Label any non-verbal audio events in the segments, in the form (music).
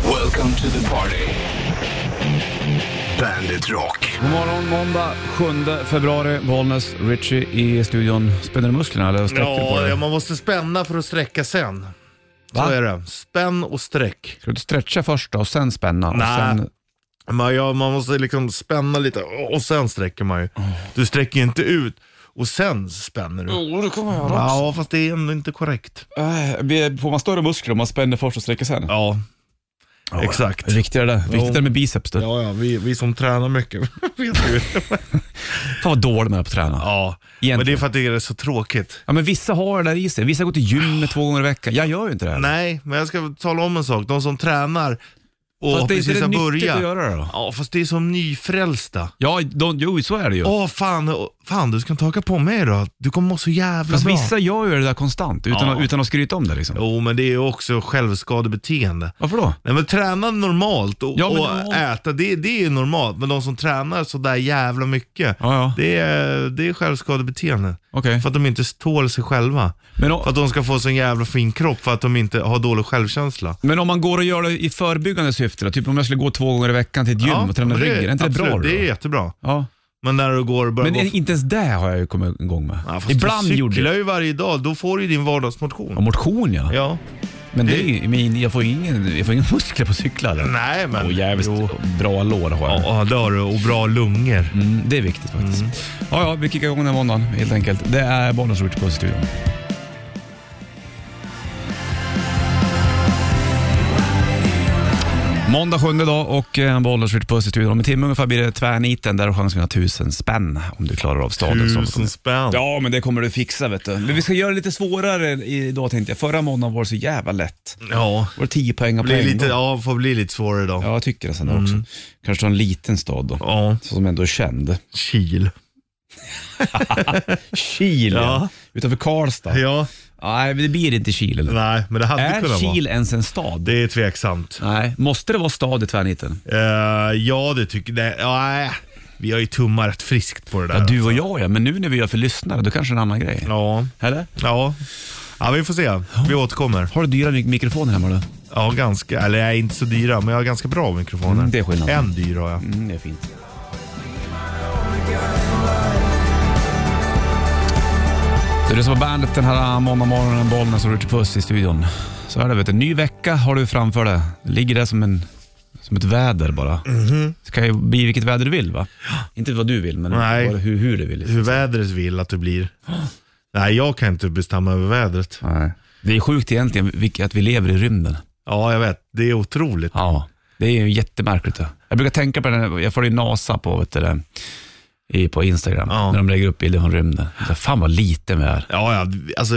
Welcome to the party. Bandit Rock. God morgon, måndag 7 februari, Bollnäs, Richie i studion. Spänner du musklerna eller sträcker du på Ja, dig? ja, man måste spänna för att sträcka sen. Va? Så är det. Spänn och sträck. Ska du stretcha först då och sen spänna? och Nej. Sen... Man, ja, man måste liksom spänna lite och sen sträcker man ju. Du sträcker ju inte ut och sen spänner du. Jo, det kommer jag göra. Ja, fast det är ändå inte korrekt. Äh, blir- Får man större muskler om man spänner först och sträcker sen? Ja, exakt. Viktigare det. Viktigare Jo. med biceps du. Ja, ja, vi, vi som tränar mycket (laughs) vet ju. Fan vad dålig man är på att träna. Ja, men det är för att det är så tråkigt. Ja, men vissa har det där i sig. Vissa går till gymmet två gånger i veckan. Jag gör ju inte det. Nej, men jag ska tala om en sak. De som tränar och Fast det är inte precis det har nyttigt att börjat. göra det då? Ja, fast det är som nyfrälsta. Ja, de, jo, så är det ju. Åh fan, åh, fan du ska inte haka på mig då. Du kommer må så jävla Fast bra. vissa gör ju det där konstant utan, Ja. att, utan att skryta om det liksom. Jo men det är ju också självskadebeteende. Varför då? Nej men träna normalt och, Ja, men och då- äta, det, det är normalt. Men de som tränar så där jävla mycket, Ja, ja. Det, är, det är självskadebeteende. Okej. För att de inte tål sig själva. Men, o- För att de ska få sån jävla fin kropp för att de inte har dålig självkänsla. men om man går och gör det i förebyggande syfte då? Typ om jag skulle gå två gånger i veckan till ett gym och träna men det- ryggen. Är inte det bra absolut, då? Det är jättebra. Ja. Men när du går och börjar Men gå... är- inte ens det har jag ju kommit igång med. Ja, fast Ibland du gjorde cyklar jag. ju varje dag, då får du ju din vardagsmotion. Ja, motion ja. Ja. men, det det- är, ju- men jag får ju ingen, jag får ingen (laughs) muskler på cyklar. eller? Nej men... Och jävligt Jo. bra lår har jag. Ja, det har du. Och bra lungor. Mm, det är viktigt faktiskt. Ja, ja, vi kickar igång den här måndagen helt enkelt. Det är Bollnäs Ritchie på studion. Måndag sjunde dag och eh, en Bollnäs Ritchie på studion. Om en timme ungefär blir det tvärniten. Där har du chans att vinna tusen spänn om du klarar av staden. som- Tusen spänn. Ja, men det kommer du fixa vet du. Men vi ska göra det lite svårare idag tänkte jag. Förra måndagen var det så jävla lätt. Ja. Var det 10 poäng på Blir en lite, Mm. gång. ja, får bli lite svårare idag. Ja, jag tycker det sen där också. Kanske ta en liten stad då, Ja. som ändå är känd. Kil. Kil, ja. Ja. utanför Karlstad. Ja. Nej, men det blir inte Kil. Eller? Nej, men det hade Är kunnat vara. Kil ens en stad? Det är tveksamt. Nej, måste det vara stad i tvärniten? Eh, ja, det tycker jag. Nej, vi har ju tummat rätt friskt på det där. Ja, du och jag ja, men nu när vi gör för lyssnare, då kanske det är en annan grej. Ja. Eller? Ja. Ja, vi får se. Vi återkommer. Har du dyra mik- mikrofoner hemma du? Ja, ganska. Eller jag är inte så dyra, men jag har ganska bra mikrofoner. Mm, det är skillnaden. En dyr har jag. Mm, det är fint. Du lyssnar på bandet den här måndagmorgonen, Bollnäs och Richard Puss i studion. Så är det vet du. Ny vecka har du framför dig. Det ligger där som, en, som ett väder bara. Det kan ju bli vilket väder du vill va? Inte vad du vill, men Nej. bara hur, hur du vill. Hur vädret vill att det blir. Nej, jag kan inte bestämma över vädret. Nej. Det är sjukt egentligen vilk- att vi lever i rymden. Ja, jag vet. Det är otroligt. Ja, det är ju jättemärkligt. Det. Jag brukar tänka på den, här- jag följer NASA på, vet du, det, i, på Instagram, Ja. när de lägger upp bilder från rymden. Så, fan vad liten vi är. Ja, ja, alltså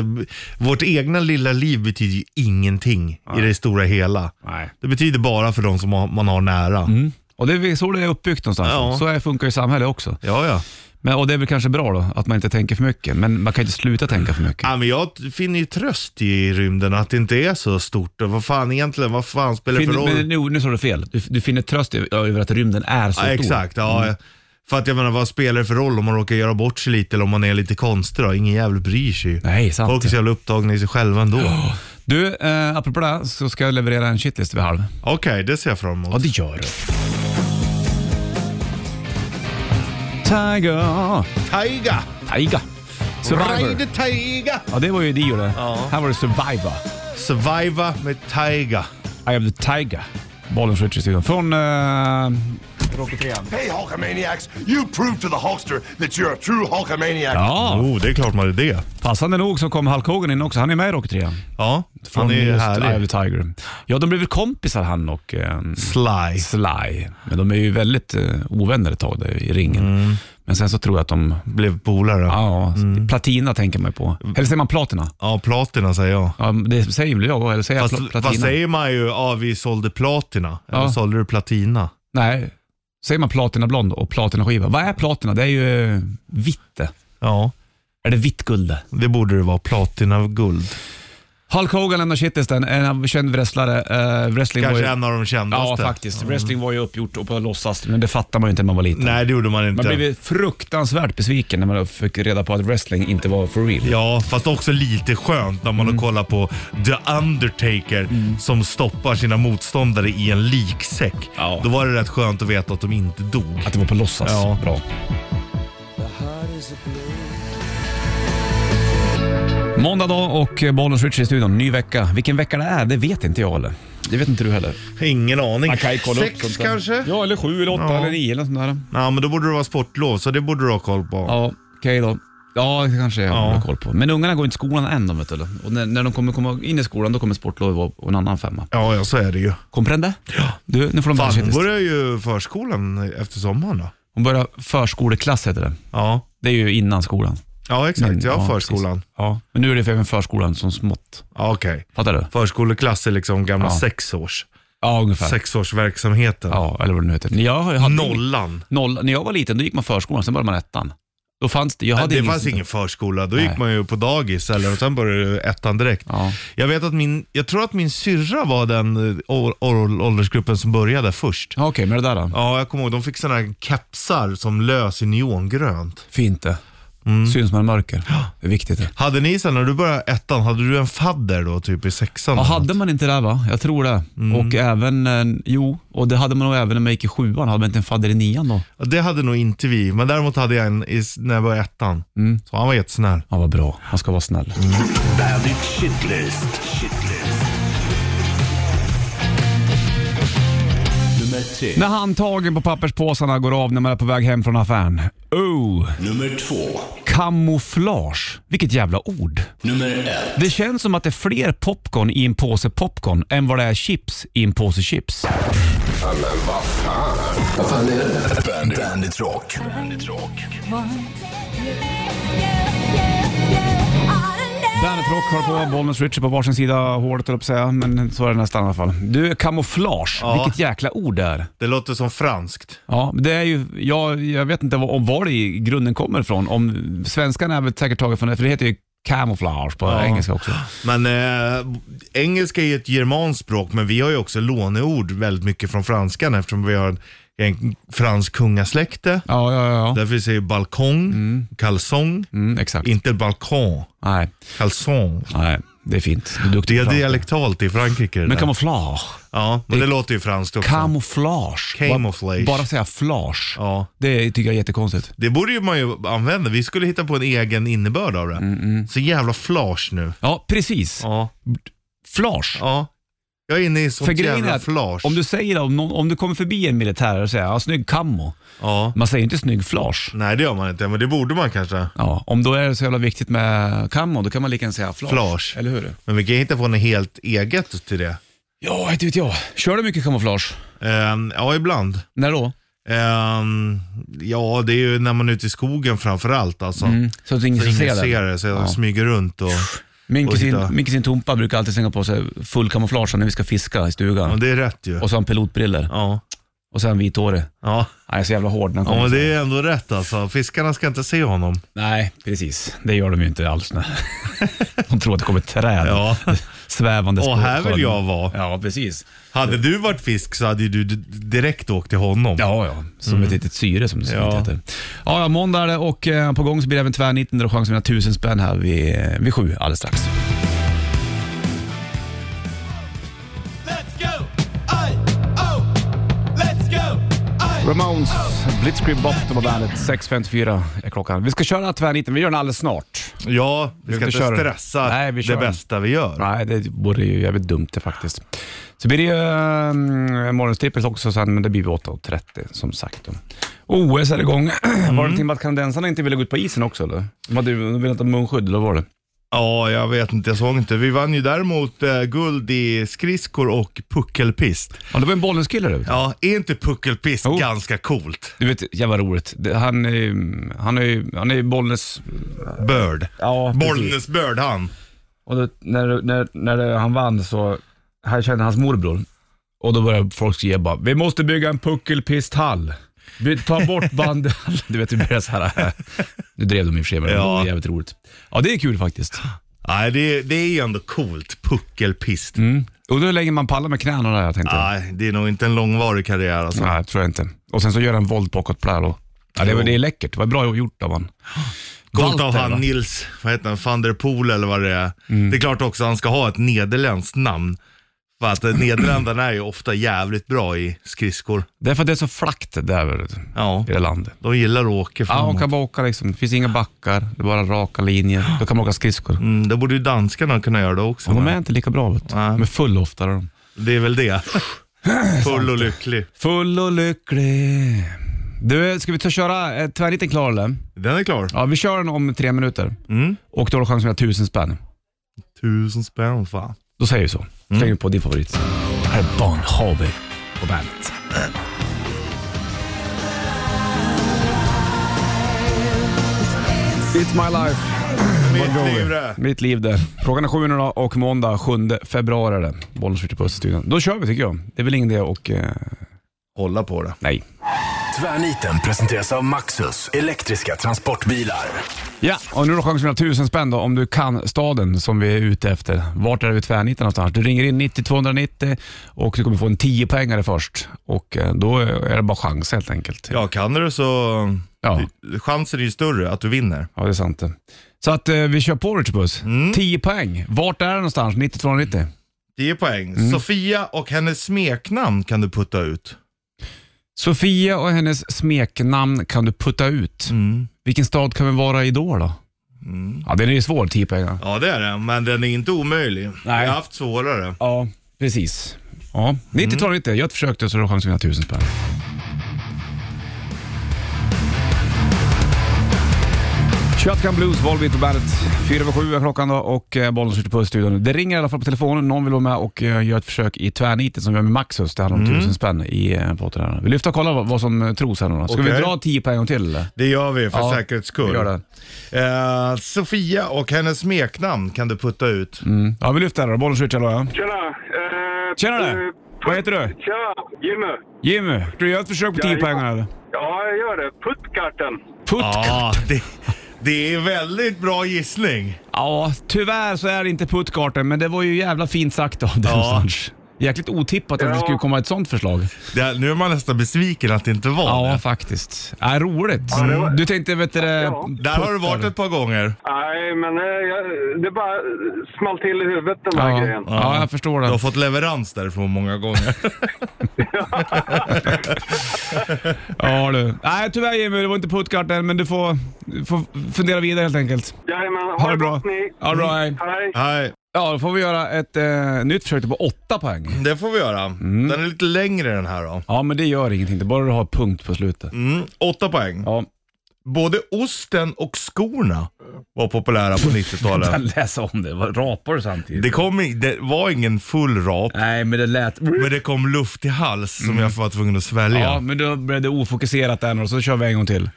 vårt egna lilla liv betyder ju ingenting i det stora hela. Nej. Det betyder bara för de som har- man har nära. Mm. Och det är väl så det är uppbyggt någonstans. Ja. Så här funkar ju samhället också. Ja, ja. Men, och det är väl kanske bra då, att man inte tänker för mycket. Men man kan inte sluta tänka för mycket. ja men jag finner ju tröst i rymden att det inte är så stort. Och vad fan egentligen, vad fan spelar det Fin, för roll? men, nu, nu sa du fel. Du, du finner tröst i- över att rymden är så Mm. ja, stor. exakt, ja. För att jag menar, vad spelar det för roll om man råkar göra bort sig lite eller om man är lite konstig då? Ingen jävel bryr sig ju. Nej, sant. Folk är så jävla upptagna i sig själva ändå. Du, eh, apropå det här, så ska jag leverera en shitlist vid halv. Okej, det ser jag fram emot. Ja, det gör du. Tiger. Taiga! Tiger. Ride Survivor. Taiga! Ja, det var ju Dio det. Ja. Här var det Survivor. Surviva med Taiga. I am the Tiger. Bollen switch i studion. Från... eh, Hey, Hulkamaniacs, you proved to the Hulkster that you're a true Hulkamaniac. ja, Oh, det är klart man är det. passande nog så kom Hulk Hogan in också. Han är med i Rocky 3. Ja, Från han är just I am härlig. the Tiger. Ja, de blev väl kompisar han och eh, Sly. Sly. Men de är ju väldigt eh, ovänner ett tag där i ringen. Mm. Men sen så tror jag att de... Blev polare. Ja. Ja, Mm. platina tänker man ju på. Eller säger man platina? platina säger jag. Ja, det säger väl jag, eller säger jag pla- Fast, platina? fast säger man ju, ja vi sålde platina. Eller Ja. sålde du platina? Nej, säger man platinablond och platinaskiva? Vad är platina? Det är ju eh, vitt det. Ja, Är det vitt guld det? det borde det vara. Platina guld. Hulk Hogan lämnar shitlisten, en känd wrestlare. eh, wrestling var Kanske ju, en av de kändaste. Ja, faktiskt. Wrestling var ju uppgjort och på låtsas, men det fattar man ju inte när man var liten. Nej, det gjorde man inte. Man blev ju fruktansvärt besviken när man fick reda på att wrestling inte var for real. Ja, fast också lite skönt när Mm. man har kollat på The Undertaker som stoppar sina motståndare i en liksäck. Ja. Då var det rätt skönt att veta att de inte dog. Att det var på låtsas. Ja. Bra. Måndag dag och Bollens Richie i studion. Ny vecka. Vilken vecka det är, det vet inte jag heller. Det vet inte du heller. Ingen aning. Man kan ju kolla upp Sex sånt där. kanske? Ja, eller sju, eller åtta, Ja. eller nio eller sånt där. Ja, men då borde det vara sportlov, så det borde du ha koll på. Ja, okej då. Ja, det kanske jag Ja. har koll på. Men ungarna går inte i skolan än de vet du. eller? Och när, när de kommer komma in i skolan, då kommer sportlov och- och en annan femma. Ja, ja, så är det ju. Comprende? Ja. Du, nu får de Fan, hon börja börjar ju förskolan efter sommaren då. Hon börjar förskoleklass heter det. Ja, Det är ju innan skolan. ja exakt. Men, ja, Mm, ja, förskolan. Ja. Men nu är det för även förskolan som smått. Ja, okej. Fattar du? Förskoleklass är liksom gamla Ja. sexårs. Ja, ungefär. Sexårsverksamheten. Ja, eller vad det nu heter. Jag hade Nollan. noll. När jag var liten, då gick man förskolan, sen började man ettan. Då fanns det, jag hade det ingen- fanns ingen förskola, då gick Nej. man ju på dagis eller och sen började ettan direkt. Ja. Jag vet att min, jag tror att min syrra var den eh, å- å- åldersgruppen som började först. Ja, Okej, men det där då? Ja, jag kommer ihåg, de fick sådana här kepsar som lös i neongrönt. Fint det. Syns man i mörker. Det är viktigt det. Hade ni sen när du började ettan, hade du en fadder då typ i sexan? Ja, eller hade något? man inte det va? Jag tror det. Och även, eh, jo, och det hade man nog även när man gick i sjuan. Hade man inte en fadder i nian då? Ja, Det hade nog inte vi, men däremot hade jag en i, s- när jag var i ettan. Mm. Så han var jättesnäll. Ja, vad bra. Man ska vara snäll. Bandit Shitlist. Shitlist. Nummer tre. När handtagen på papperspåsarna går av när man är på väg hem från affären. Oh, Nummer två. kamouflage. Vilket jävla ord. Nummer ett. Det känns som att det är fler popcorn i en påse popcorn än vad det är chips i en påse chips. Bandit, Bandit Rock. Bandit Rock. Bandet Rock har på Bollnäs Richie på varsin sida av hålet höll jag på att säga, men så är det nästan i alla fall. Du, kamouflage. Vilket jäkla ord det är. Det låter som franskt. Ja, det är ju, jag, jag vet inte var, om var det i grunden kommer ifrån. Om, svenskan är väl säkert taget från det, för det heter ju camouflage på engelska också. Men eh, engelska är ju ett germanskt språk, men vi har ju också låneord väldigt mycket från franskan eftersom vi har en fransk kungasläkte. Ja, ja, ja. ja. Därför säger balkong, kalsong, Mm, exakt. inte balkong, Nej, kalsong. nej, det är fint. Du är duktig Det på är franska. dialektalt i Frankrike det Men där. kamouflage. Ja, men det låter ju franskt också. Camouflage. Camouflage. Bara, bara säga flage. Ja, Det tycker jag är jättekonstigt. det borde ju man ju använda. Vi skulle hitta på en egen innebörd av det. Mm, Så jävla flage nu. Ja, precis. Ja, Flage. ja. Jag är inne i sånt För grejen är jävla att flage. om du säger om, någon, om du kommer förbi en militär och säger ja, snygg kammo. Ja. Man säger inte snygg flage. Nej, det gör man inte, men det borde man kanske. Ja, om då är det så jävla viktigt med kammo, då kan man lika gärna säga flage. Flage. Eller hur? Men vi kan ju hitta på något helt eget till det. Ja, inte vet jag. Kör du mycket kamouflage? Ehm, ja, ibland. När då? Ehm, ja, det är ju när man är ute i skogen framför allt alltså. Så att ingen Så ska se ingen ser Mm. det. det, så jag smyger runt och... Min Och kusin, hitta. min kusin Tompa brukar alltid slänga på sig full kamouflage när vi ska fiska i stugan. Men det är rätt ju. Och så har han pilotbriller Ja. och så har han vithårig. Nej, Ja. jag är så jävla hård när han ja, kommer. men det är ändå rätt alltså. Fiskarna ska inte se honom. Nej, precis. Det gör de ju inte alls. Nej. (laughs) De tror att det kommer ett träd Ja. svävande Åh, på här vill sjön. jag vara. Ja, precis. Hade du varit fisk så hade ju du d- direkt åkt till honom. Ja, ja. Som ett litet syre som det så Mm. Ja. fint heter. Ja, ja, måndag är det och eh, på gång så blir det även tvärnitten där du har chans att vinna tusen spänn här vid, eh, vid sju alldeles strax. Ramones, Blitzkrieg Bop, de har bandet. 6.54 är klockan. Vi ska köra tvärnitten, vi gör den alldeles snart. Ja, vi Vi ska inte inte kör den. stressa Nej, vi det kör den. bästa vi gör. Nej, det vore ju jävligt dumt det faktiskt. Så blir det ju um, morgonstrippet också sen, men det blir vid 8.30 som sagt. då. OS är igång. (clears throat) Var det någonting med att kanadensarna inte ville gå ut på isen också eller? De, hade, ju- de ville inte ha munskydd, eller vad var det? Ja, jag vet inte. Jag såg inte. Vi vann ju däremot eh, guld i skridskor och puckelpist. Ja, det var en Bollnäs-kille du. Ja, är inte puckelpist Jo. ganska coolt? Du vet, jävla roligt. Det- Han är ju- han är ju- han är ju Bollnäs... Bird. Ja, Bollnäs Bird han. Och då, när, när, när det, han vann så, här kände hans morbror. Och då började folk skriva bara, vi måste bygga en puckelpisthall. Vi tar bort (laughs) bandehallen. Du vet, det blir så här. (laughs) Nu drev de i och för sig, men det Ja. var jävligt roligt. Ja, det är kul faktiskt. Nej, det, det är ju ändå coolt. Puckelpist. Undrar hur länge man pallar med knäna där, jag tänkte. Mm. Nej, det är nog inte en långvarig karriär alltså. Nej, tror jag inte. Och sen så gör han våld på Kotplalo. Ja, det, var- det är läckert. Vad bra gjort av han. Coolt av Walter, va? han Nils, vad heter han, van der Poel eller vad det är. Det är klart också han ska ha ett nederländskt namn. För att eh, Nederländerna är ju ofta jävligt bra i skridskor. Det är för att det är så flackt där vet du, Ja, i det landet. de gillar att åka Ja, man framåt. kan bara åka liksom. Det finns inga backar, det är bara raka linjer. Då kan man åka skridskor. Mm, då borde ju danskarna kunna göra det också. De va? är inte lika bra vet du. Nej. De är full oftare de. Det är väl (laughs) det. Full och lycklig. Full och lycklig. Du, ska vi ta och köra eh, tvärniten klar eller? Den är klar. Ja, vi kör den om tre minuter. Mm. Och då har du chansen att vinna tusen spänn. Tusen spänn fan. Då säger vi så. Släng mm. på din favorit. Här är Bon Jovi på bandet. It's my life. Mitt liv det. Mitt liv det. Klockan är sju nu då och måndag 7 februari är det. Bollnäs skjuter puss i studion. Då kör vi tycker jag. Det är väl ingen idé och... Eh, Hålla på det. nej. Tvärniten presenteras av Maxus elektriska transportbilar. Ja, och nu har du chansen att vinna tusen spänn då, om du kan staden som vi är ute efter. Vart är vi tvärnitar någonstans? Du ringer in 90 290 och du kommer få en 10 poängare först. Och eh, då är det bara chans helt enkelt. Ja, kan du det så... Ja. Chansen är ju större att du vinner. Ja, det är sant det. Så att eh, vi kör på Richbus. Mm. 10 poäng. Vart är det någonstans? 90 290? 10 poäng. Mm. Sofia och hennes smeknamn kan du putta ut. Sofia och hennes smeknamn kan du putta ut. Vilken stad kan vi vara i då? då? Ja, den är ju svår, 10 poäng. ja. Ja, det är den, men den är inte omöjlig. Nej. Jag har haft svårare. Ja, precis. Ja, 90 tar du inte. Gör ett försök då så har du chans att vinna 1000 spänn. Shotgun Blues, Volbeat på bandet. Fyra över sju är klockan då och eh, bollen skjuter på i studion. Det ringer i alla fall på telefonen. Någon vill vara med och eh, göra ett försök i tvärnitet som vi gör med Maxus. Det handlar om 1000 spänn i eh, potten här. Vi lyfter och kollar vad, vad som eh, tros här nu då. Ska vi Okej. dra 10 på en gång till eller? Det gör vi för Ja, säkerhets skull. vi gör det. Eh, Sofia och hennes smeknamn kan du putta ut. Ja, vi lyfter här då. Bollen skjuter, hallå ja. Tjena! Eh, Tjena eh, du! Vad heter du? Tjena, Jimmy! Jimmy, ska du göra ett försök på 10 Ja, poäng ja. eller? Ja, jag gör det. Puttkarten. Putt Ja, det, det är väldigt bra gissning. Ja, tyvärr så är det inte puttkarten, men det var ju jävla fint sagt av den Ja. Sanch. Jäkligt otippat att det Ja. skulle komma ett sånt förslag. Det, nu är man nästan besviken att det inte var det. faktiskt. Ja, roligt. Ja, det var- Du tänkte, vet du det... Ja. Där har du varit ett par gånger. Nej, men eh, jag, det bara small till i huvudet den här Ja. grejen. ja, jag förstår Du har det. fått leverans därifrån (laughs) många gånger. Ja, du. Nej, tyvärr Jimmy, det var inte puttkarten, men du får, du får fundera vidare helt enkelt. Jajamän, Ha det bra. gott ni. Mm. Ja, bra, hej. Hej! Nej, Ja, då får vi göra ett eh, nytt försök på åtta poäng. det får vi göra. Mm. Den är lite längre den här då. Ja, men det gör ingenting. Det är bara du har punkt på slutet. Mm, åtta poäng. Ja, Både osten och skorna var populära (laughs) på 90-talet. läsa om det. Vad- Rapar du samtidigt? Det, kom, i- det var ingen full rap, Nej, men det lät... men det kom luft i hals som jag var tvungen att svälja. Mm. Ja, men då blev det ofokuserat där nu och så kör vi en gång till.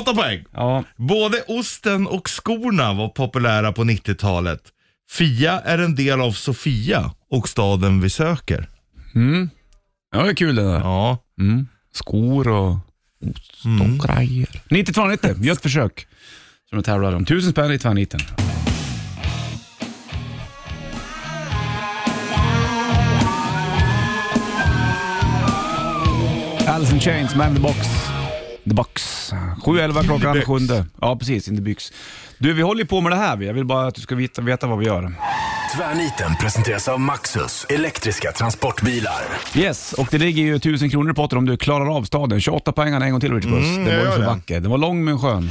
Åtta poäng. Ja. Både osten och skorna var populära på 90-talet. Fia är en del av Sofia och staden vi söker. Ja, det är kul det där. Ja, Skor och ost och Mm. grejer. 9290, gör ett försök. Som jag tävlar om. Tusen spänn i tvärniten. Alice in Chains, Man in the Box. The Box. 7.11 klockan box. sjunde. Ja, precis. In the box. Du, vi håller ju på med det här. Jag vill bara att du ska veta, veta vad vi gör. Tvärniten presenteras av Maxus elektriska transportbilar. Yes, och det ligger ju 1000 kronor i potten om du klarar av staden. 28 poängen en gång till Rich Puss. Mm, Det jag var ju gör så det. vacker. Den var lång men skön.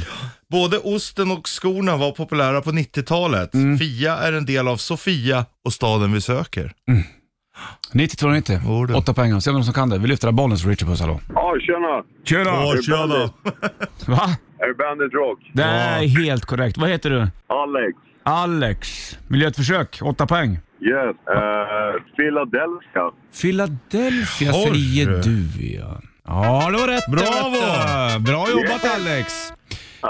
både osten och skorna var populära på 90-talet. Mm. Fia är en del av Sofia och staden vi söker. 9290. Jo, du. 8 poäng. Se om det är någon som kan det. Vi lyfter av bollen så Rich Puss, hallå. Ja, tjena! Tjena! Åh, tjena. Va? Är det Bandit Rock? Det är helt korrekt. Vad heter du? Alex. Alex. Vill du göra ett försök? 8 poäng. Yes. Eh, Philadelphia. Philadelphia Oj. säger du ja. Ja, det var rätt. Bravo! vet du. Bra jobbat Alex!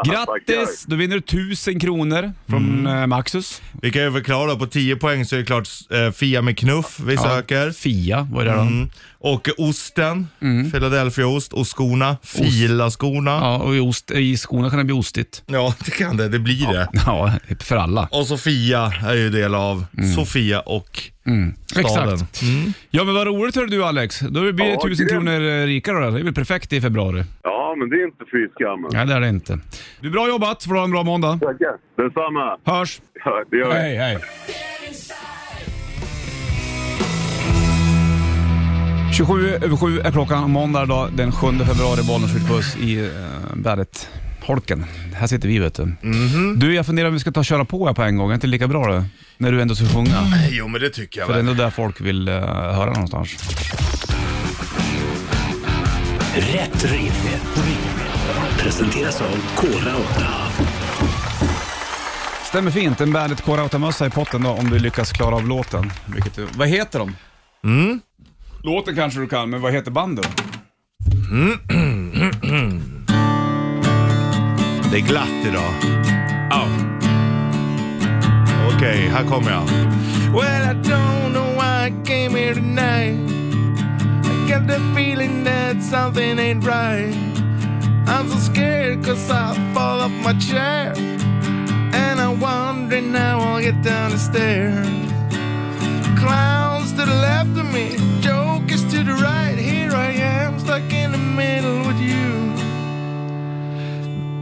Grattis! Då vinner du 1000 kronor Mm. från eh, Maxus. Vi kan ju förklara på 10 poäng så är det klart eh, Fia med knuff vi söker. Fia, vad är det då? Mm. Och osten, Philadelphiaost och skorna, filaskorna. Mm. Ja, och i, ost, i skorna kan det bli ostigt. (laughs) Ja, det kan det. Det blir det. Ja, för alla. Och Sofia är ju del av Mm. Sofia och staden. Exakt. Ja men vad roligt hörde du Alex. Då blir det Ja, 1000 grymt. kronor eh, rikare då. Det är väl perfekt i februari. Ja, men det är inte fy skammen. Nej det är det inte. Du, bra jobbat, får du ha en bra måndag. Tackar. Detsamma. Hörs! Ja, det gör vi. Hej, hej. 27 över 7 är klockan, måndag då, den 7 februari, Bollnäs skjutbuss i uh, Bäret. Holken. Här sitter vi vet du. Mhm. Du, jag funderar om vi ska ta och köra på här på en gång. Är inte lika bra det? När du ändå ska sjunga. Jo, men det tycker jag Mm. För det är väl. ändå där folk vill eh, höra någonstans. Rätt riff. Presenteras av Kora 8. Stämmer fint. En Bandet K-Rauta-mössa i potten då, om du lyckas klara av låten. Vilket, du- vad heter de? Mm. Låten kanske du kan, men vad heter bandet? Det är glatt idag. Ja. Okej, här kommer jag. Well, I don't know why I came here tonight. I got the feeling that something ain't right. I'm so scared cause I fall off my chair. And I'm wondering how I'll get down the stairs. Clowns to the left of me, jokers to the right. Here I am, stuck in the middle with you.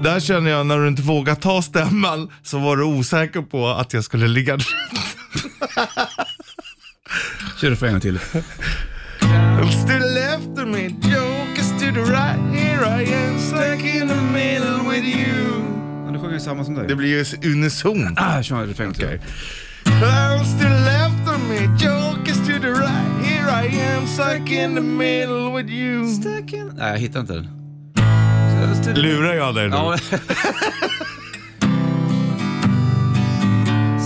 Där känner jag när du inte vågar ta stämman så var du osäker på att jag skulle ligga (laughs) Kör du för en till. Jokers to the left of me, jokers to the right, here I am stuck in the middle with you Men du sjunger ju samma som dig. Det blir ju unisont. Ah, kör refrängen till. Clowns to the left of me, jokers to the right, here I am stuck in the middle with you Nej, jag hittar inte den. Lurar jag dig nu? Ja, (laughs)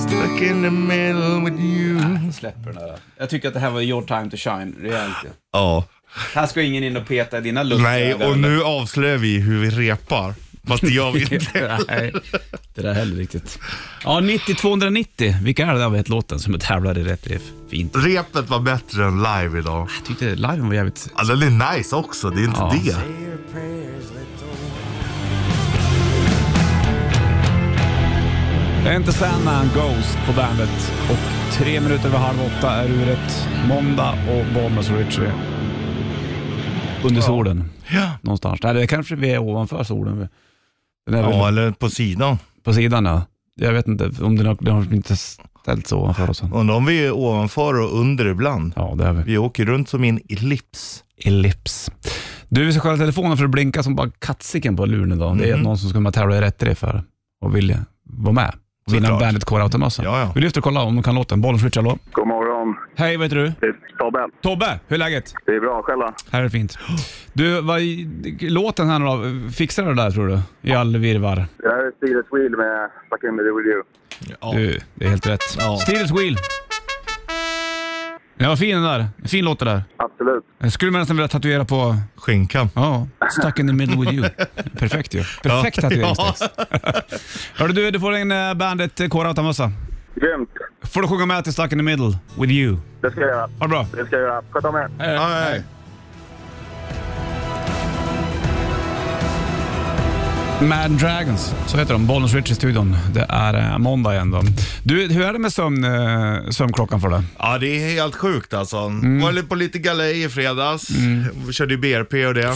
Stuck in the middle with you jag släpper den där. Jag tycker att det här var your time to shine, rejält ju. Ja. Här ska ingen in och peta i dina lustiga... Nej, och nu avslöjar vi hur vi repar. Fast det gör vi (laughs) inte. (laughs) Nej, det där heller riktigt. Ja, 90-290. Vilka är det där vet låten som tävlar i rätt riff? Fint. Repet var bättre än live idag. Jag tyckte liven var jävligt... Ja, den är nice också, det är inte Ja. det. Det är inte Sandman, Ghost på bandet. Och tre minuter över halv åtta är uret. Måndag och Bollnäs och Ritchie. Under solen. Ja. någonstans. Nej, det kanske vi är ovanför solen. Den är ja, väl eller på sidan. på sidan ja. Jag vet inte om den har, den har inte ställt sig ovanför oss än. Undrar om vi är ovanför och under ibland. Ja, det är vi. Vi åker runt som i en ellips. Ellips. Du, vi ska kolla telefonen för det blinkar som bara kattsiken på luren idag. Mhm. Det är någon som ska med och tävla i rätt riff här och vill vara med. Och vinna en Såklart. Bandet Core-automössa. Ja, ja. Vi lyfter och kollar om de kan låten. Bollen switch, hallå. God morgon. Hej, vad heter du? Det är Tobbe. Tobbe, hur är läget? Det är bra. Själva? Här är det fint. Du, vad, låten här nu då, fixar du det där tror du? I all virrvarr. Det här är Steelers Wheel med Stuck in the Middle with you. Du, det är helt rätt. Ja. Steelers Wheel. Ja, vad fin den där. Fin låt det där. Absolut. Jag skulle man nästan vilja tatuera på... Skinkan. Ja, Stuck in the middle with you. Perfekt ju. Perfekt tatueringstext. Hörru du, du får en eh, Bandet K-Rauta-mössa. Grymt. Får du sjunga med till Stuck in the middle with you. Det ska jag göra. Ha det bra. Det ska jag göra. Sköt om er. Ja, ja, ja. Mad Dragons, så heter de. Bollnäs Rich i studion. Det är eh, måndag igen då. Du, hur är det med sömn, eh, sömnklockan för dig? ja, det är helt sjukt alltså. Var lite på lite galej i fredags. Vi körde ju BRP och det.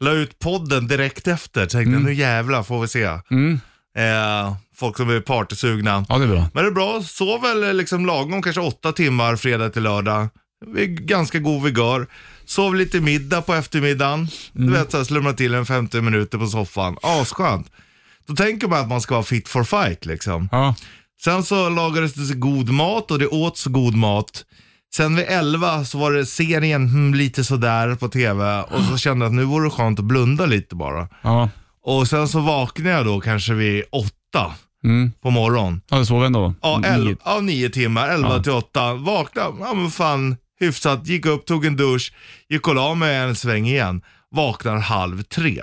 La ut podden direkt efter. Tänkte nu jävlar får vi se. Eh, folk som är partysugna. Ja, det är bra. Men det är bra, sov väl liksom lagom, kanske åtta timmar fredag till lördag. Vi är Ganska god vigör. Sov lite middag på eftermiddagen. Du vet såhär, slumra till en 50 minuter på soffan. Asskönt. Då tänker man att man ska vara fit for fight liksom. Ja. Sen så lagades det så god mat och det åts så god mat. Sen vid 11 så var det serien hmm, lite sådär på tv och så kände jag att nu vore det skönt att blunda lite bara. Ja, Och sen så vaknade jag då kanske vid åtta på morgonen. ja du sov ändå? Mm. Ja, Nio. el- ja, nio timmar, 11 till 8. Vaknade, ja men fan hyfsat, gick upp, tog en dusch, gick och la mig en sväng igen. Vaknar halv tre.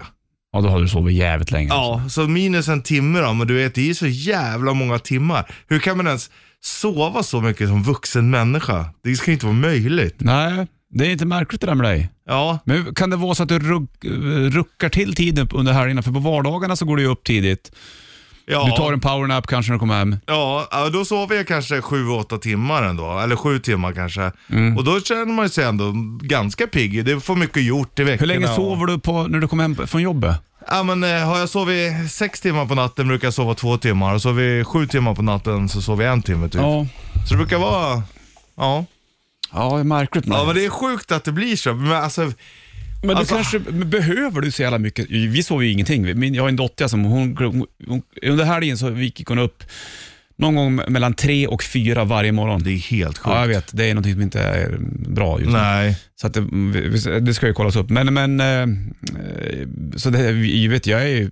Ja, då hade du sovit jävligt länge. alltså. Ja, så minus en timme då, men du vet det är ju så jävla många timmar. Hur kan man ens sova så mycket som vuxen människa? Det ska ju inte vara möjligt. Nej, det är inte märkligt det där med dig. Ja, Men kan det vara så att du ruck, ruckar till tiden under helgerna? För på vardagarna så går du ju upp tidigt. ja. Du tar en powernap kanske när du kommer hem. Ja, ja, då sover jag kanske 7-8 timmar ändå, eller 7 timmar kanske. Mm. Och då känner man sig ändå ganska pigg. Det får mycket gjort i veckorna. Hur länge och- sover du på, när du kommer hem från jobbet? Ja, men, eh, har jag sovit 6 timmar på natten brukar jag sova 2 timmar. Och sover vi 7 timmar på natten så sover jag en timme typ. Så det brukar vara... Ja. ja det är märkligt. ja, men det är sjukt att det blir så. Men alltså, Men Alltså- du kanske, men behöver du så jävla mycket? Vi sover ju ingenting. Min, jag har en dotter som, hon, hon, hon, under helgen så gick hon upp någon gång mellan tre och fyra varje morgon. det är helt sjukt. Ja, jag vet. Det är någonting som inte är bra just nu. Nej. Så att det, vi- det ska ju kollas upp. Men, men eh, eh, så det, jag vet, jag är ju,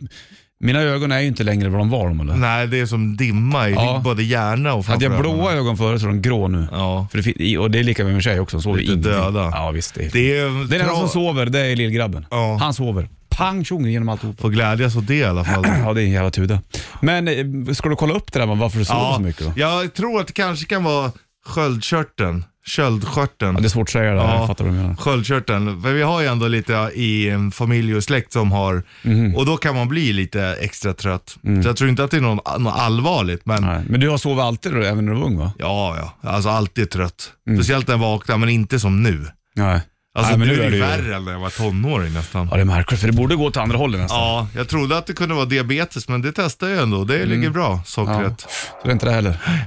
mina ögon är ju inte längre vad de var. Om, eller? Nej, det är som dimma i Ja. både hjärna Hade och framför jag ögonen. blåa ögon förut så är de grå nu. Ja. För det, fin- i- och det är lika med min tjej också, hon sover Lite ingenting. döda. Ja, visst. Det är, Det är... den enda tra- som sover, det är lillgrabben. Ja. Han sover. Pang tjong genom alltihop. Får glädjas åt det i (clears throat) alla fall. Ja, det är en jävla tuda. Men eh, ska du kolla upp det där med varför du sover så mycket då? Jag tror att det kanske kan vara sköldkörteln. Köldskörteln. Ja, det är svårt att säga det, Ja. jag fattar vad du menar. Sköldkörteln. För vi har ju ändå lite i en familj och släkt som har, Mhm. och då kan man bli lite extra trött. Så jag tror inte att det är någon- något allvarligt, men Mm. Nej. Men du har sovit alltid då, även när du var ung va? ja, ja. Alltså alltid trött. Speciellt när jag vaknar, men inte som nu. Nej. Alltså Mm. Nej, men nu, nu är det ju ju- värre än när jag var tonåring nästan. Ja, det är märkligt, för det borde gå åt andra hållet nästan. Ja, jag trodde att det kunde vara diabetes, men det testade jag ändå. Det ligger Mm. bra, sockret. Så det är inte det heller. Nej.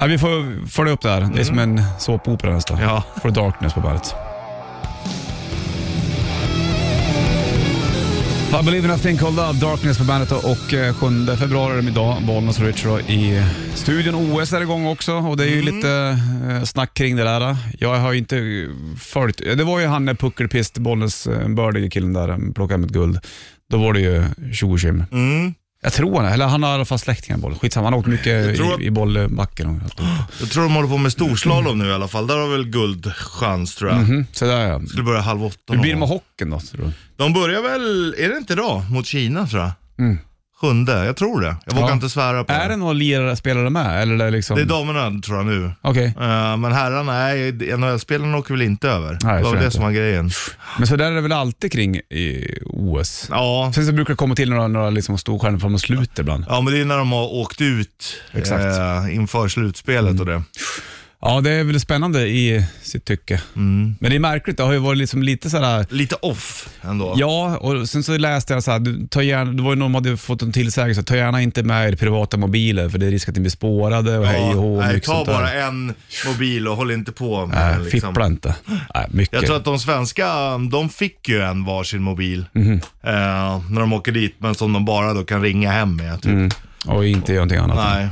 Nej, vi får följa upp det här. Det är som en såpopera nästan. Mm. Ja. For Darkness på bandet. I believe in a thing called love, Darkness på bandet och eh, 7 februari är de idag, Bollnäs och Richard i studion. OS är igång också och det är ju Mm. lite eh, snack kring det där. Jag har ju inte eh, följt, det var ju han eh, puckelpist, Bollnäs eh, bördige killen där, eh, plockade hem ett guld. Då var det ju tjo och tjim. Mm. Jag tror han, eller han har i alla fall släktingar i boll. Skitsamma, han har åkt mycket tror att- i, i bollbacken. och allt. Jag tror de håller på med storslalom nu i alla fall. Där har väl guldchans tror jag. Mhm, så där ja. Skulle börja halv åtta. Hur blir det med någon gång. hockeyn då, tror du? De börjar väl, är det inte idag, mot Kina tror jag? Mm. Sjunde, jag tror det. Jag vågar Ja. inte svära på Är det några lirare, spelare med? Eller är det liksom... Det är damerna tror jag nu. Okej, Eh, men herrarna, nej, NHL-spelarna åker väl inte över. Nej, det var tror det jag som var grejen. men så där är det väl alltid kring i OS? Ja, Sen så brukar det komma till några, några liksom storstjärnor från de sluter ibland. ja, men det är när de har åkt ut Exakt. Mm. eh, inför slutspelet och det. Ja, det är väl spännande i sitt tycke. Mm. Men det är märkligt, det har ju varit liksom lite sådär... Lite off ändå. Ja, och sen så läste jag så här, du, ta gärna, det var ju någon som hade fått en tillsägelse, ta gärna inte med er privata mobiler för det är risk att ni blir spårade och hej och hå. och nej, mycket ta sånt där. bara en mobil och håll inte på med Nej, den, liksom. fippla inte. Nej, mycket. Jag tror att de svenska, de fick ju en varsin mobil Mhm. eh, när de åker dit, men som de bara då kan ringa hem med. Mm. Typ. Och inte göra någonting annat. Nej.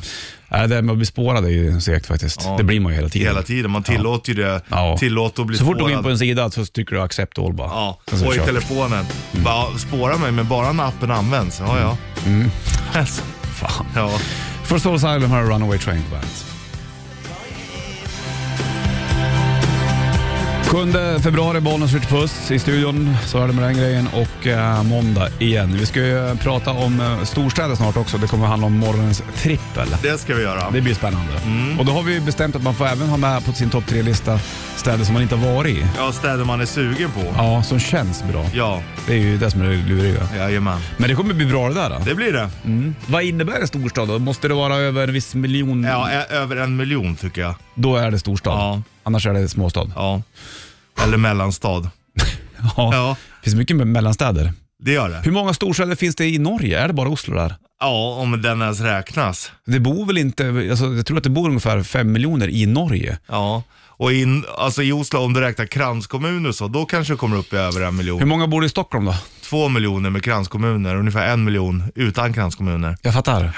Nej, det där med att bli spårad är ju segt faktiskt. Ja. Det blir man ju hela tiden. Hela tiden, man tillåter ju det. Ja. Tillåter att bli Så fort du går in spårad. på en sida så trycker du accept all bara. Ja, Sen så och i kör. telefonen. Mm. Bara, spåra mig, men bara när appen används. Ja, ja. Mm. Alltså, Fan. (laughs) ja. For Soul Asylum har Runaway Train på bandet. 7 februari, Bollnäs skjuter puss i studion. Så är det med den grejen. Och eh, måndag igen. Vi ska ju prata om eh, storstäder snart också. Det kommer handla om morgonens trippel. Det ska vi göra. Det blir spännande. Mm. Och då har vi ju bestämt att man får även ha med på sin topp tre-lista städer som man inte har varit i. Ja, städer man är sugen på. Ja, som känns bra. Ja, Det är ju det som är det luriga. jajamän. Men det kommer bli bra det där. Då. Det blir det. Mm. Vad innebär en storstad då? Måste det vara över en viss miljon? Ja, ö- över en miljon tycker jag. Då är det storstad. Ja. Annars är det småstad. Ja. Eller mellanstad. Ja. Ja, Det finns mycket med mellanstäder. det gör det. Hur många storstäder finns det i Norge? Är det bara Oslo där? Ja, om den ens räknas. Det bor väl inte, alltså, jag tror att det bor ungefär fem miljoner i Norge. Ja. Och in, alltså i Oslo, om du räknar kranskommuner och så, då kanske det kommer upp i över en Hur miljon. många bor i Stockholm då? Två miljoner med kranskommuner, ungefär en miljon utan kranskommuner. Jag fattar.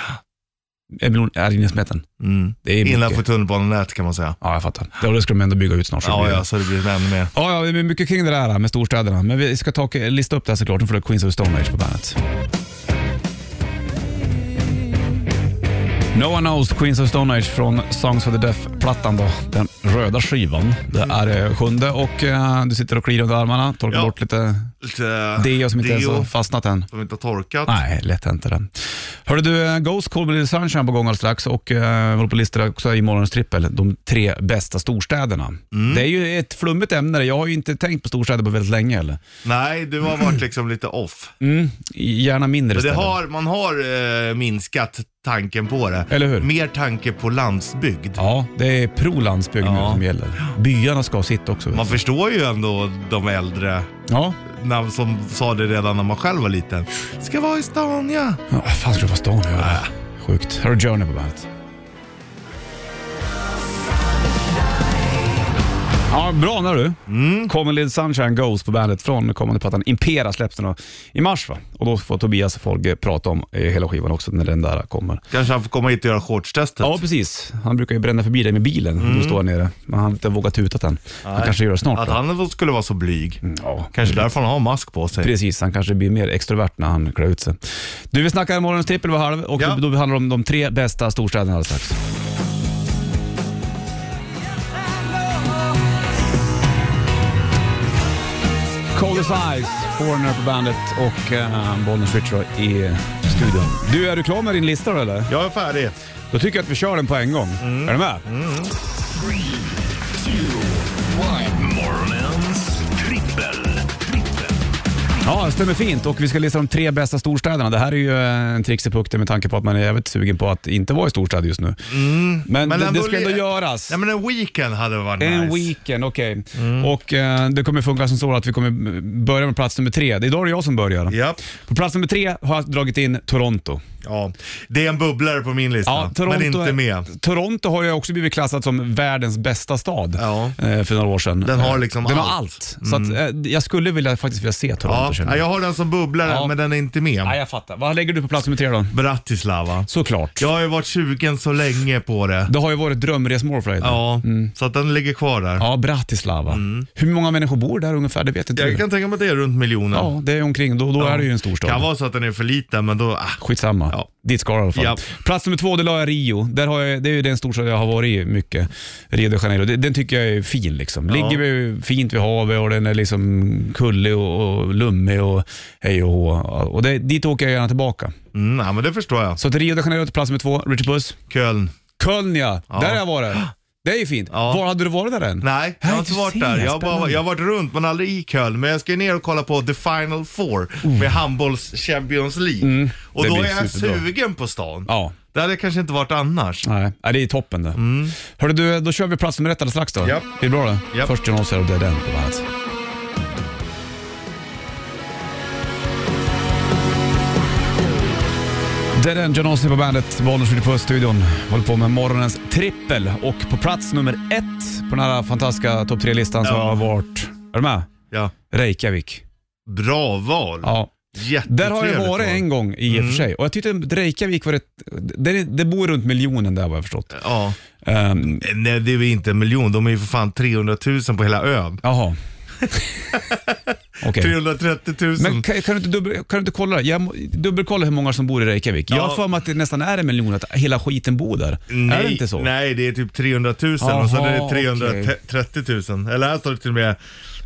En miljon är inne i smeten. Mm. Det är mycket. Innanför tunnelbanenätet kan man säga. Ja, jag fattar. Ja, Det ska de ändå bygga ut snart. så det Ja, blir- ja, så det blir ännu mer. Ja, ja, det är mycket kring det där med storstäderna. Men vi ska ta och lista upp det här såklart. Nu får du Queens of Stone Age på bandet. No One Knows, Queens of Stone Age från Songs for the Deaf-plattan då. Den röda skivan. Det är eh, sjunde och eh, du sitter och kliar under armarna, torkar Mm. Ja. bort lite lite Det är jag som inte ens deo har fastnat än. som inte har torkat. Nej, lätt inte det. Hörde du, eh, Ghost Cold Blooded Sunshine på gång alldeles strax och eh, vi håller på att lista också i morgons trippel, de tre bästa storstäderna. Mm. Det är ju ett flummigt ämne, jag har ju inte tänkt på storstäder på väldigt länge heller. Nej, du har varit liksom lite off. Mm. Gärna mindre Men det städer. har, man har eh, minskat tanken på det. Eller hur? Mer tanke på landsbygd. Ja, det är pro-landsbygd Ja. nu som gäller. Byarna ska ha sitt också. vet Man du. förstår ju ändå de äldre Ja, när, som sa det redan när man själv var liten. Ska vara i stan ja. Ja, Vad fan ska du vara stan och göra? Ah. Sjukt. Här har du Journey på bandet. Ja, bra när du. Mm. Common Lid Sunshine Goes på bandet från kommande plattan Impera släpps den då i mars va? Och då får Tobias Folge prata om eh, hela skivan också när den där kommer. Kanske han får komma hit och göra typ. shortstestet. Ja precis, han brukar ju bränna förbi dig med bilen när du står här nere. Men han har inte vågat tuta än. Han kanske gör det snart. Mm. Att då. Mm. han skulle vara så blyg. Ja, Kanske därför han har mask på sig. Precis, han kanske blir mer extrovert när han klär ut sig. Du, vi snackar morgonens trippel var halv och Ja. då, då handlar det om de tre bästa storstäderna alldeles strax. Coldest Eyes, Foreigner på bandet och uh, Bollnäs Richard i studion. Du, är du klar med din lista då eller? Jag är färdig. Då tycker jag att vi kör den på en gång. Mm. Är du med? Morgonens trippel. trippel. Ja, det stämmer fint. Och vi ska lista de tre bästa storstäderna. Det här är ju eh, en trixepuck med tanke på att man är jävligt sugen på att inte vara i storstäder just nu. Mm. Men, det, det ska ändå le- göras. Nej men en weekend hade varit En nice. Mm. weekend, okej. Och eh, det kommer funka som så att vi kommer börja med plats nummer tre. Det är idag det är jag som börjar. Ja. På plats nummer tre har jag dragit in Toronto. ja, det är en bubblare på min lista. men inte är- med. Toronto har ju också blivit klassat som världens bästa stad Ja. eh, för några år sedan. Den har Eh, liksom Den har allt. Mm. allt. Så att, eh, jag skulle vilja, faktiskt vilja se Toronto Ja, känner jag har den som bubblare Ja. men den är inte med. Ja, jag fattar. Vad lägger du på plats nummer tre då? Bratislava. Såklart. Jag har ju varit 20 så länge på det. Det har ju varit drömresmål för dig. Ja, så att den ligger kvar där. Mm. ja, Bratislava. Hur många människor bor där ungefär? Det vet inte du. Jag kan tänka mig att det är runt miljonen. Ja, det är omkring. Då, då är det ju en storstad. Kan vara så att den är för liten men då, ah, Skitsamma. Ja. Dit ska det i alla fall. Ja. Plats nummer två, det la jag Rio. Där har jag, det är ju den storstad jag har varit i mycket. Rio de Janeiro. Den, den tycker jag är fin liksom. Ligger vi fint vid havet och den är liksom kullig och, och lummig och hej och hå. Och det, dit åker jag gärna tillbaka. mm, ja, men det förstår jag. Så till Rio de Janeiro till plats nummer två, Richard Puss. Köln. Köln ja, där har jag varit. Det är ju fint. Ja. Var hade du varit där än? Nej, jag har Nej, inte du varit ser, där. Jag har, bara, spännande. jag har varit runt men aldrig i Köln. Men jag ska ju ner och kolla på The Final Four med handbolls Champions League. och Mm. det då blir är jag superbra. sugen på stan. Ja. Det hade jag kanske inte varit annars. Nej, nej, det är toppen det. Hörru du, då kör vi plats nummer ett alldeles strax då. Japp. Det är bra det. Japp. Först John Osser och det är den på bandet. Det är den, John Ossie på bandet, Bollnäs på studion Håller på med morgonens trippel och på plats nummer ett på den här fantastiska topp tre-listan så Ja. har varit, är du med? Ja. Reykjavik. Bra val. Ja. Jättetrevligt Där har jag varit val. en gång i och för sig och jag tyckte att Reykjavik var ett, det, det bor runt miljonen där vad jag förstått. Ja. Ehm, Nej, det är ju inte en miljon. De är ju för fan 300 000 på hela ön. (laughs) Jaha. Okej. 330 000. Men kan, kan, du inte dubbel, kan du inte kolla det? Jag må- dubbelkolla hur många som bor i Reykjavik. Jag har Ja. för mig att det nästan är en miljon, att hela skiten bor där. nej, är det inte så? Nej, det är typ 300 000 och sen Jaha, är det 330 000. Eller här står det till och med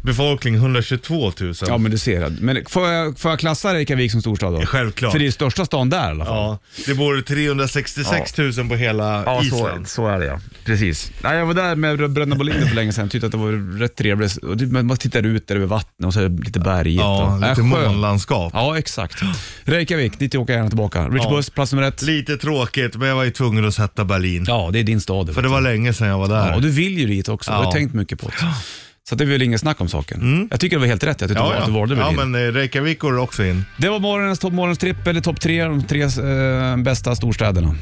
befolkning 122 000. Ja, men du ser. Men får jag, får jag klassa Reykjavik som storstad då? Självklart. För det är största stan där i alla fall. Ja, det bor 366 000 på hela Island. är det ja. Precis. Nej, jag var där med Bröderna Bolin för länge sedan tyckte att det var rätt trevligt. Och det- Man tittar ut där över vattnet och så är det lite bergigt. Ja, och, lite äh, skönt. månlandskap. Ja, exakt. Reykjavik, dit åker jag gärna tillbaka. Rich Ja. Buss, plats nummer ett. Lite tråkigt, men jag var ju tvungen att sätta Berlin. Ja, det är din stad. För det var länge sedan jag var där. Ja, och du vill ju dit också. Du har Ja. Mm. tänkt mycket på det. Så att det är väl ingen snack om saken. Jag tycker det var helt rätt jag tyckte ja, att du valde ja Berlin. men eh, Reykjavik går också in. Det var morgonens topp morgonens trippel, topp tre, de tre eh, bästa storstäderna.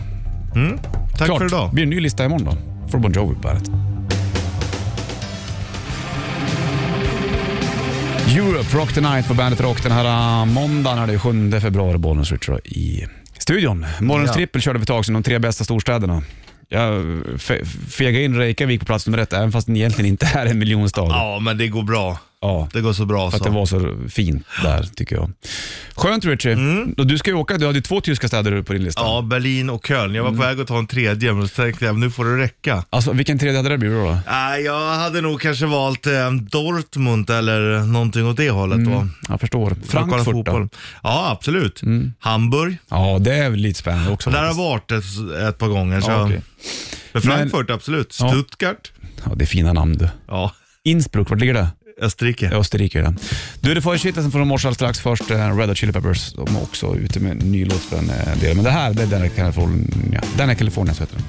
Tack Klart, för det idag. blir en ny lista imorgon då. Från Bon Jovi på bandet. Europe, Rock the Night på bandet Rock den här eh, måndagen är det 7 februari, Bollnäs Ritcher i studion. Morgonens Ja. trippel körde vi ett tag sedan, de tre bästa storstäderna. Jag fe- fegade in Reykjavik på plats nummer ett, även fast den egentligen inte är en miljonstad. Ja, men det går bra. Ja. Det går så bra För att så. det var så fint där, tycker jag. Skönt Richie. Och Du ska ju åka, du hade ju två tyska städer på din lista. Mm. Ja, Berlin och Köln. Jag var Mm. på väg att ta en tredje, men så tänkte jag nu får det räcka. Alltså, vilken tredje hade det blivit då? Nej, jag hade nog kanske valt eh, Dortmund eller någonting åt det hållet då. Jag förstår. Lokala Mm. Frankfurt fotboll. då? Mm. Ja, absolut. Hamburg. Ja, det är väl lite spännande också. Där har jag faktiskt. varit ett, ett par gånger. Så. ja, okej. Men Frankfurt, absolut. Ja. Stuttgart. ja, det är fina namn du. Ja, Innsbruck, vart ligger det? Österrike. I Österrike är det. Du, du får ju kittelsen från morse alldeles strax. Först eh, Red Hot Chili Peppers. De är också ute med en ny låt för en eh, del. Men det här, det är Danny California. Danny California så heter den.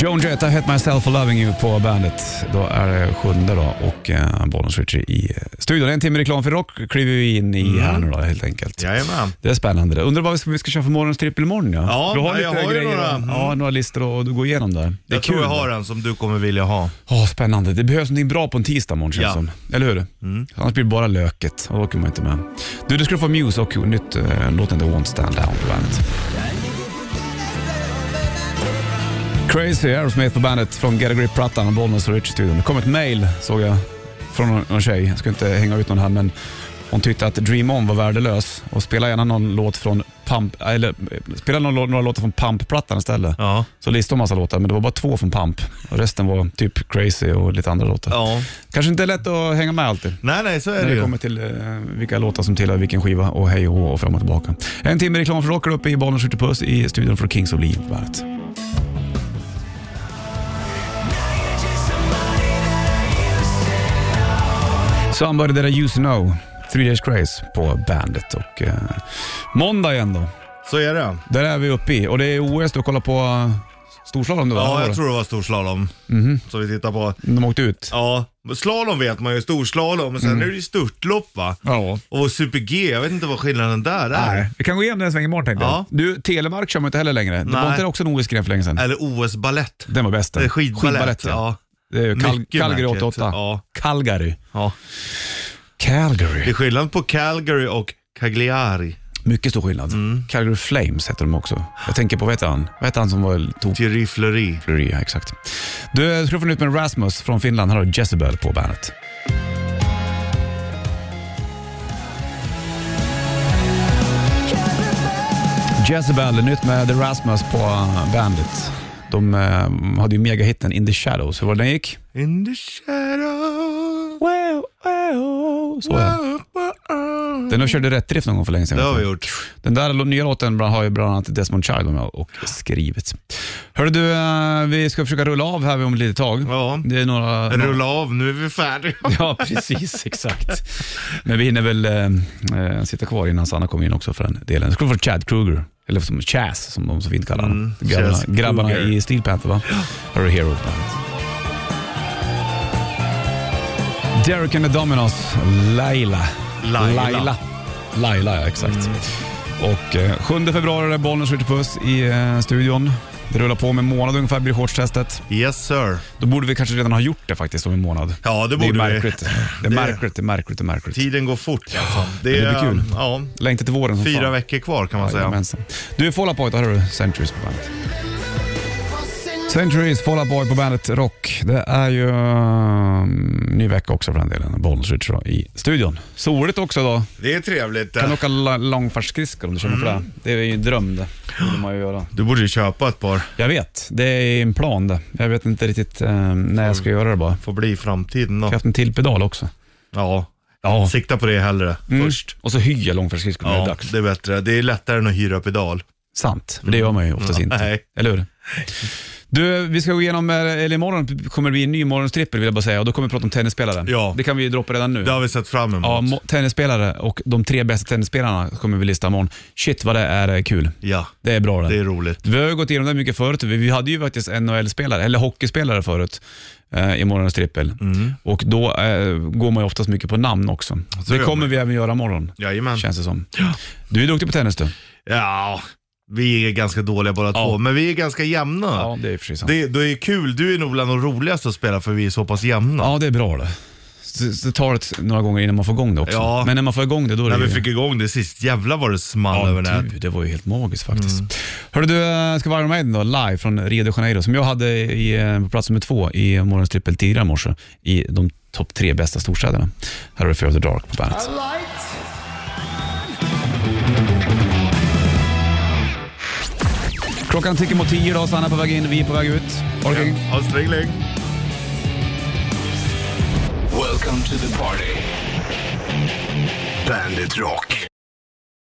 Joan Jett, I Hate Myself for Loving You på bandet. Då är det sjunde då och eh, Bollnäs Ritchie i eh, studion. En timme reklam för rock kliver vi in i Mm. här nu då helt enkelt. Jajamän. Det är spännande. det. Undrar vad vi ska, vi ska köra för morgonens trippel imorgon ja? Ja, du har jag lite har ju grejer, några. och- Ja, några listor att du går igenom där. Det är Jag tror jag det. har en som du kommer vilja ha. Ja, spännande. Det behövs någonting bra på en tisdag morgon känns Ja. som. Eller hur? Annars blir det bara löket och då åker man inte med. Du, du skulle få Muse och nytt eh, låten The Won't Stand Down på bandet. Crazy Aerosmith på bandet från Get A Grip-plattan och Bollnäs och Rich-studion. Det kom ett mail såg jag från någon- någon tjej. Jag ska inte hänga ut någon här men hon tyckte att Dream On var värdelös och spela gärna någon låt från Pump, eller eh, spela någon, lå- några låtar från Pump-plattan istället. Ja. Så listade hon massa låtar, men det var bara två från Pump. Och resten var typ Crazy och lite andra låtar. Ja. Kanske inte lätt att hänga med alltid. Nej, nej, så är När det det ju. kommer till eh, vilka låtar som tillhör vilken skiva och hej och hå och fram och tillbaka. En timme reklam för rockar uppe i Bollnäs skjuter puss i studion för Kings of Leave Bandet. Somebody that I used to know, Three Days Grace på bandet och eh, måndag igen då. Så är det. Där är vi uppe i och det är OS du kollar på eh, storslalom nu va? Ja, Var jag det? tror det var storslalom Mhm. som vi tittar på. De åkte ut. Ja, slalom vet man ju, storslalom, men sen är det ju störtlopp va? Mm. Ja. Och super-G, jag vet inte vad skillnaden där är. Nej. Vi kan gå igenom den svängen imorgon tänkte Ja. jag. Du, Telemark kör man inte heller längre. Det var Nej. inte också en OS-gren för länge sedan? Eller OS-balett. Den var bäst. den. Det är skidbalett, ja. ja. Det är ju Kal- Mycket Calgary märkligt, 88. ja. Calgary. Ja. Det Calgary. är skillnad på Calgary och Cagliari. Mycket stor skillnad. Mm. Calgary Flames heter de också. Jag tänker på, vad heter han? Vad heter han som var tokig? Thierry Fleury. Ja, exakt. Du, ska du få nytt med Rasmus från Finland. Här har du Jezebel på bandet. Jezebel, nytt med The Rasmus på eh, bandet. De eh, hade ju megahitten In the Shadows. Hur var det den gick? In the shadow. Wow, wow. Så ja. Den har körde rätt drift någon gång för länge sedan. Det vet har vi jag. gjort. Den där lo- nya låten bra- har ju bland annat Desmond Child med och skrivit. Hörru du, eh, vi ska försöka rulla av här om ett litet tag. Ja. Det är några... Rulla av, nu är vi färdiga. (laughs) Ja, precis. Exakt. Men vi hinner väl eh, eh, sitta kvar innan Sanna kommer in också för den delen. Skulle få Chad Kruger, eller som Chaz som de så fint kallar honom. Mm, grabbarna, Chaz Kruger. grabbarna i Steel Panther va? Har du Hero på bandet. Derek and the Dominos, Laila. Laila. Mm. Laila, Laila, ja exakt. Och eh, 7 februari är Bollnäs skjuter puss i eh, studion. Det rullar på med en månad ungefär blir shortstestet. Yes sir. Då borde vi kanske redan ha gjort det faktiskt om en månad. Ja, det borde det är vi. (laughs) märkligt. Det är Det- märkligt, det är märkligt, det är märkligt. Tiden går fort alltså. Det det är, blir kul. Ja, Längtar till våren som fyra fan. veckor kvar kan man säga. Jajamensan. Du, Fall Out Boy, då har du Centuries på bandet. Centuries, Fall Out Boy på bandet Rock. Det är ju um, ny vecka också för den delen. Bollnäs Ritchie då i studion. Soligt också idag. Det är trevligt. eh. Kan åka la- långfärdsskridskor om du känner för Mm. det. Det är ju en dröm det. Det vill man ju göra. Du borde ju köpa ett par. Jag vet, det är en plan det. Jag vet inte riktigt eh, när jag Mm. ska göra det bara. Får bli i framtiden Jag har då. haft en till pedal också. Ja, Ja. sikta på det hellre först. Och så hyr jag långfärdsskridskor när Mm. det är Mm. Ja, dags. det är bättre. Det är lättare än att hyra pedal. Sant, för det gör man ju oftast inte. Mm. Nej. Eller hur? Du, vi ska gå igenom, eh, eller imorgon kommer det bli en ny morgonstrippel vill jag bara säga och då kommer vi prata om tennisspelare. Ja. Det kan vi ju droppa redan nu. Det har vi sett fram emot. Ja, Ja. mo- tennisspelare och de tre bästa tennisspelarna kommer vi lista imorgon. Shit vad det är eh, kul. Det är bra det. det är roligt. Vi har ju gått igenom det mycket förut. Vi vi hade ju faktiskt NHL-spelare, eller hockeyspelare förut eh, i morgonens trippel. Och då eh, går man ju oftast mycket på namn också. Mm. Så det gör kommer man. vi även göra imorgon, Jajamän. känns det som. Du är duktig på tennis du. Ja, vi är ganska dåliga båda Ja. två, men vi är ganska jämna. det är precis sant. Det, det är kul, du är nog bland de roligaste att spela för vi är så pass jämna. Ja, det är bra det. Så, så tar det några gånger innan man får igång det också. Ja. Men när man får igång det då är När det vi ju- fick igång det sist, jävlar vad det Mm. small över Ja, typ. den du, det var ju helt magiskt faktiskt. Hörru du, eh, ska vara Iron Maiden då, live från Rio de Janeiro, som jag hade i, eh, på plats nummer två i morgonens trippel tidigare i morse, i de topp tre bästa storstäderna. Här har du Fear of the Dark på bandet. Klockan tickar mot tio idag, Sanna är på väg in, vi är på väg ut. Ha det kul. Ja, strängling. Welcome to the party. Bandit Rock.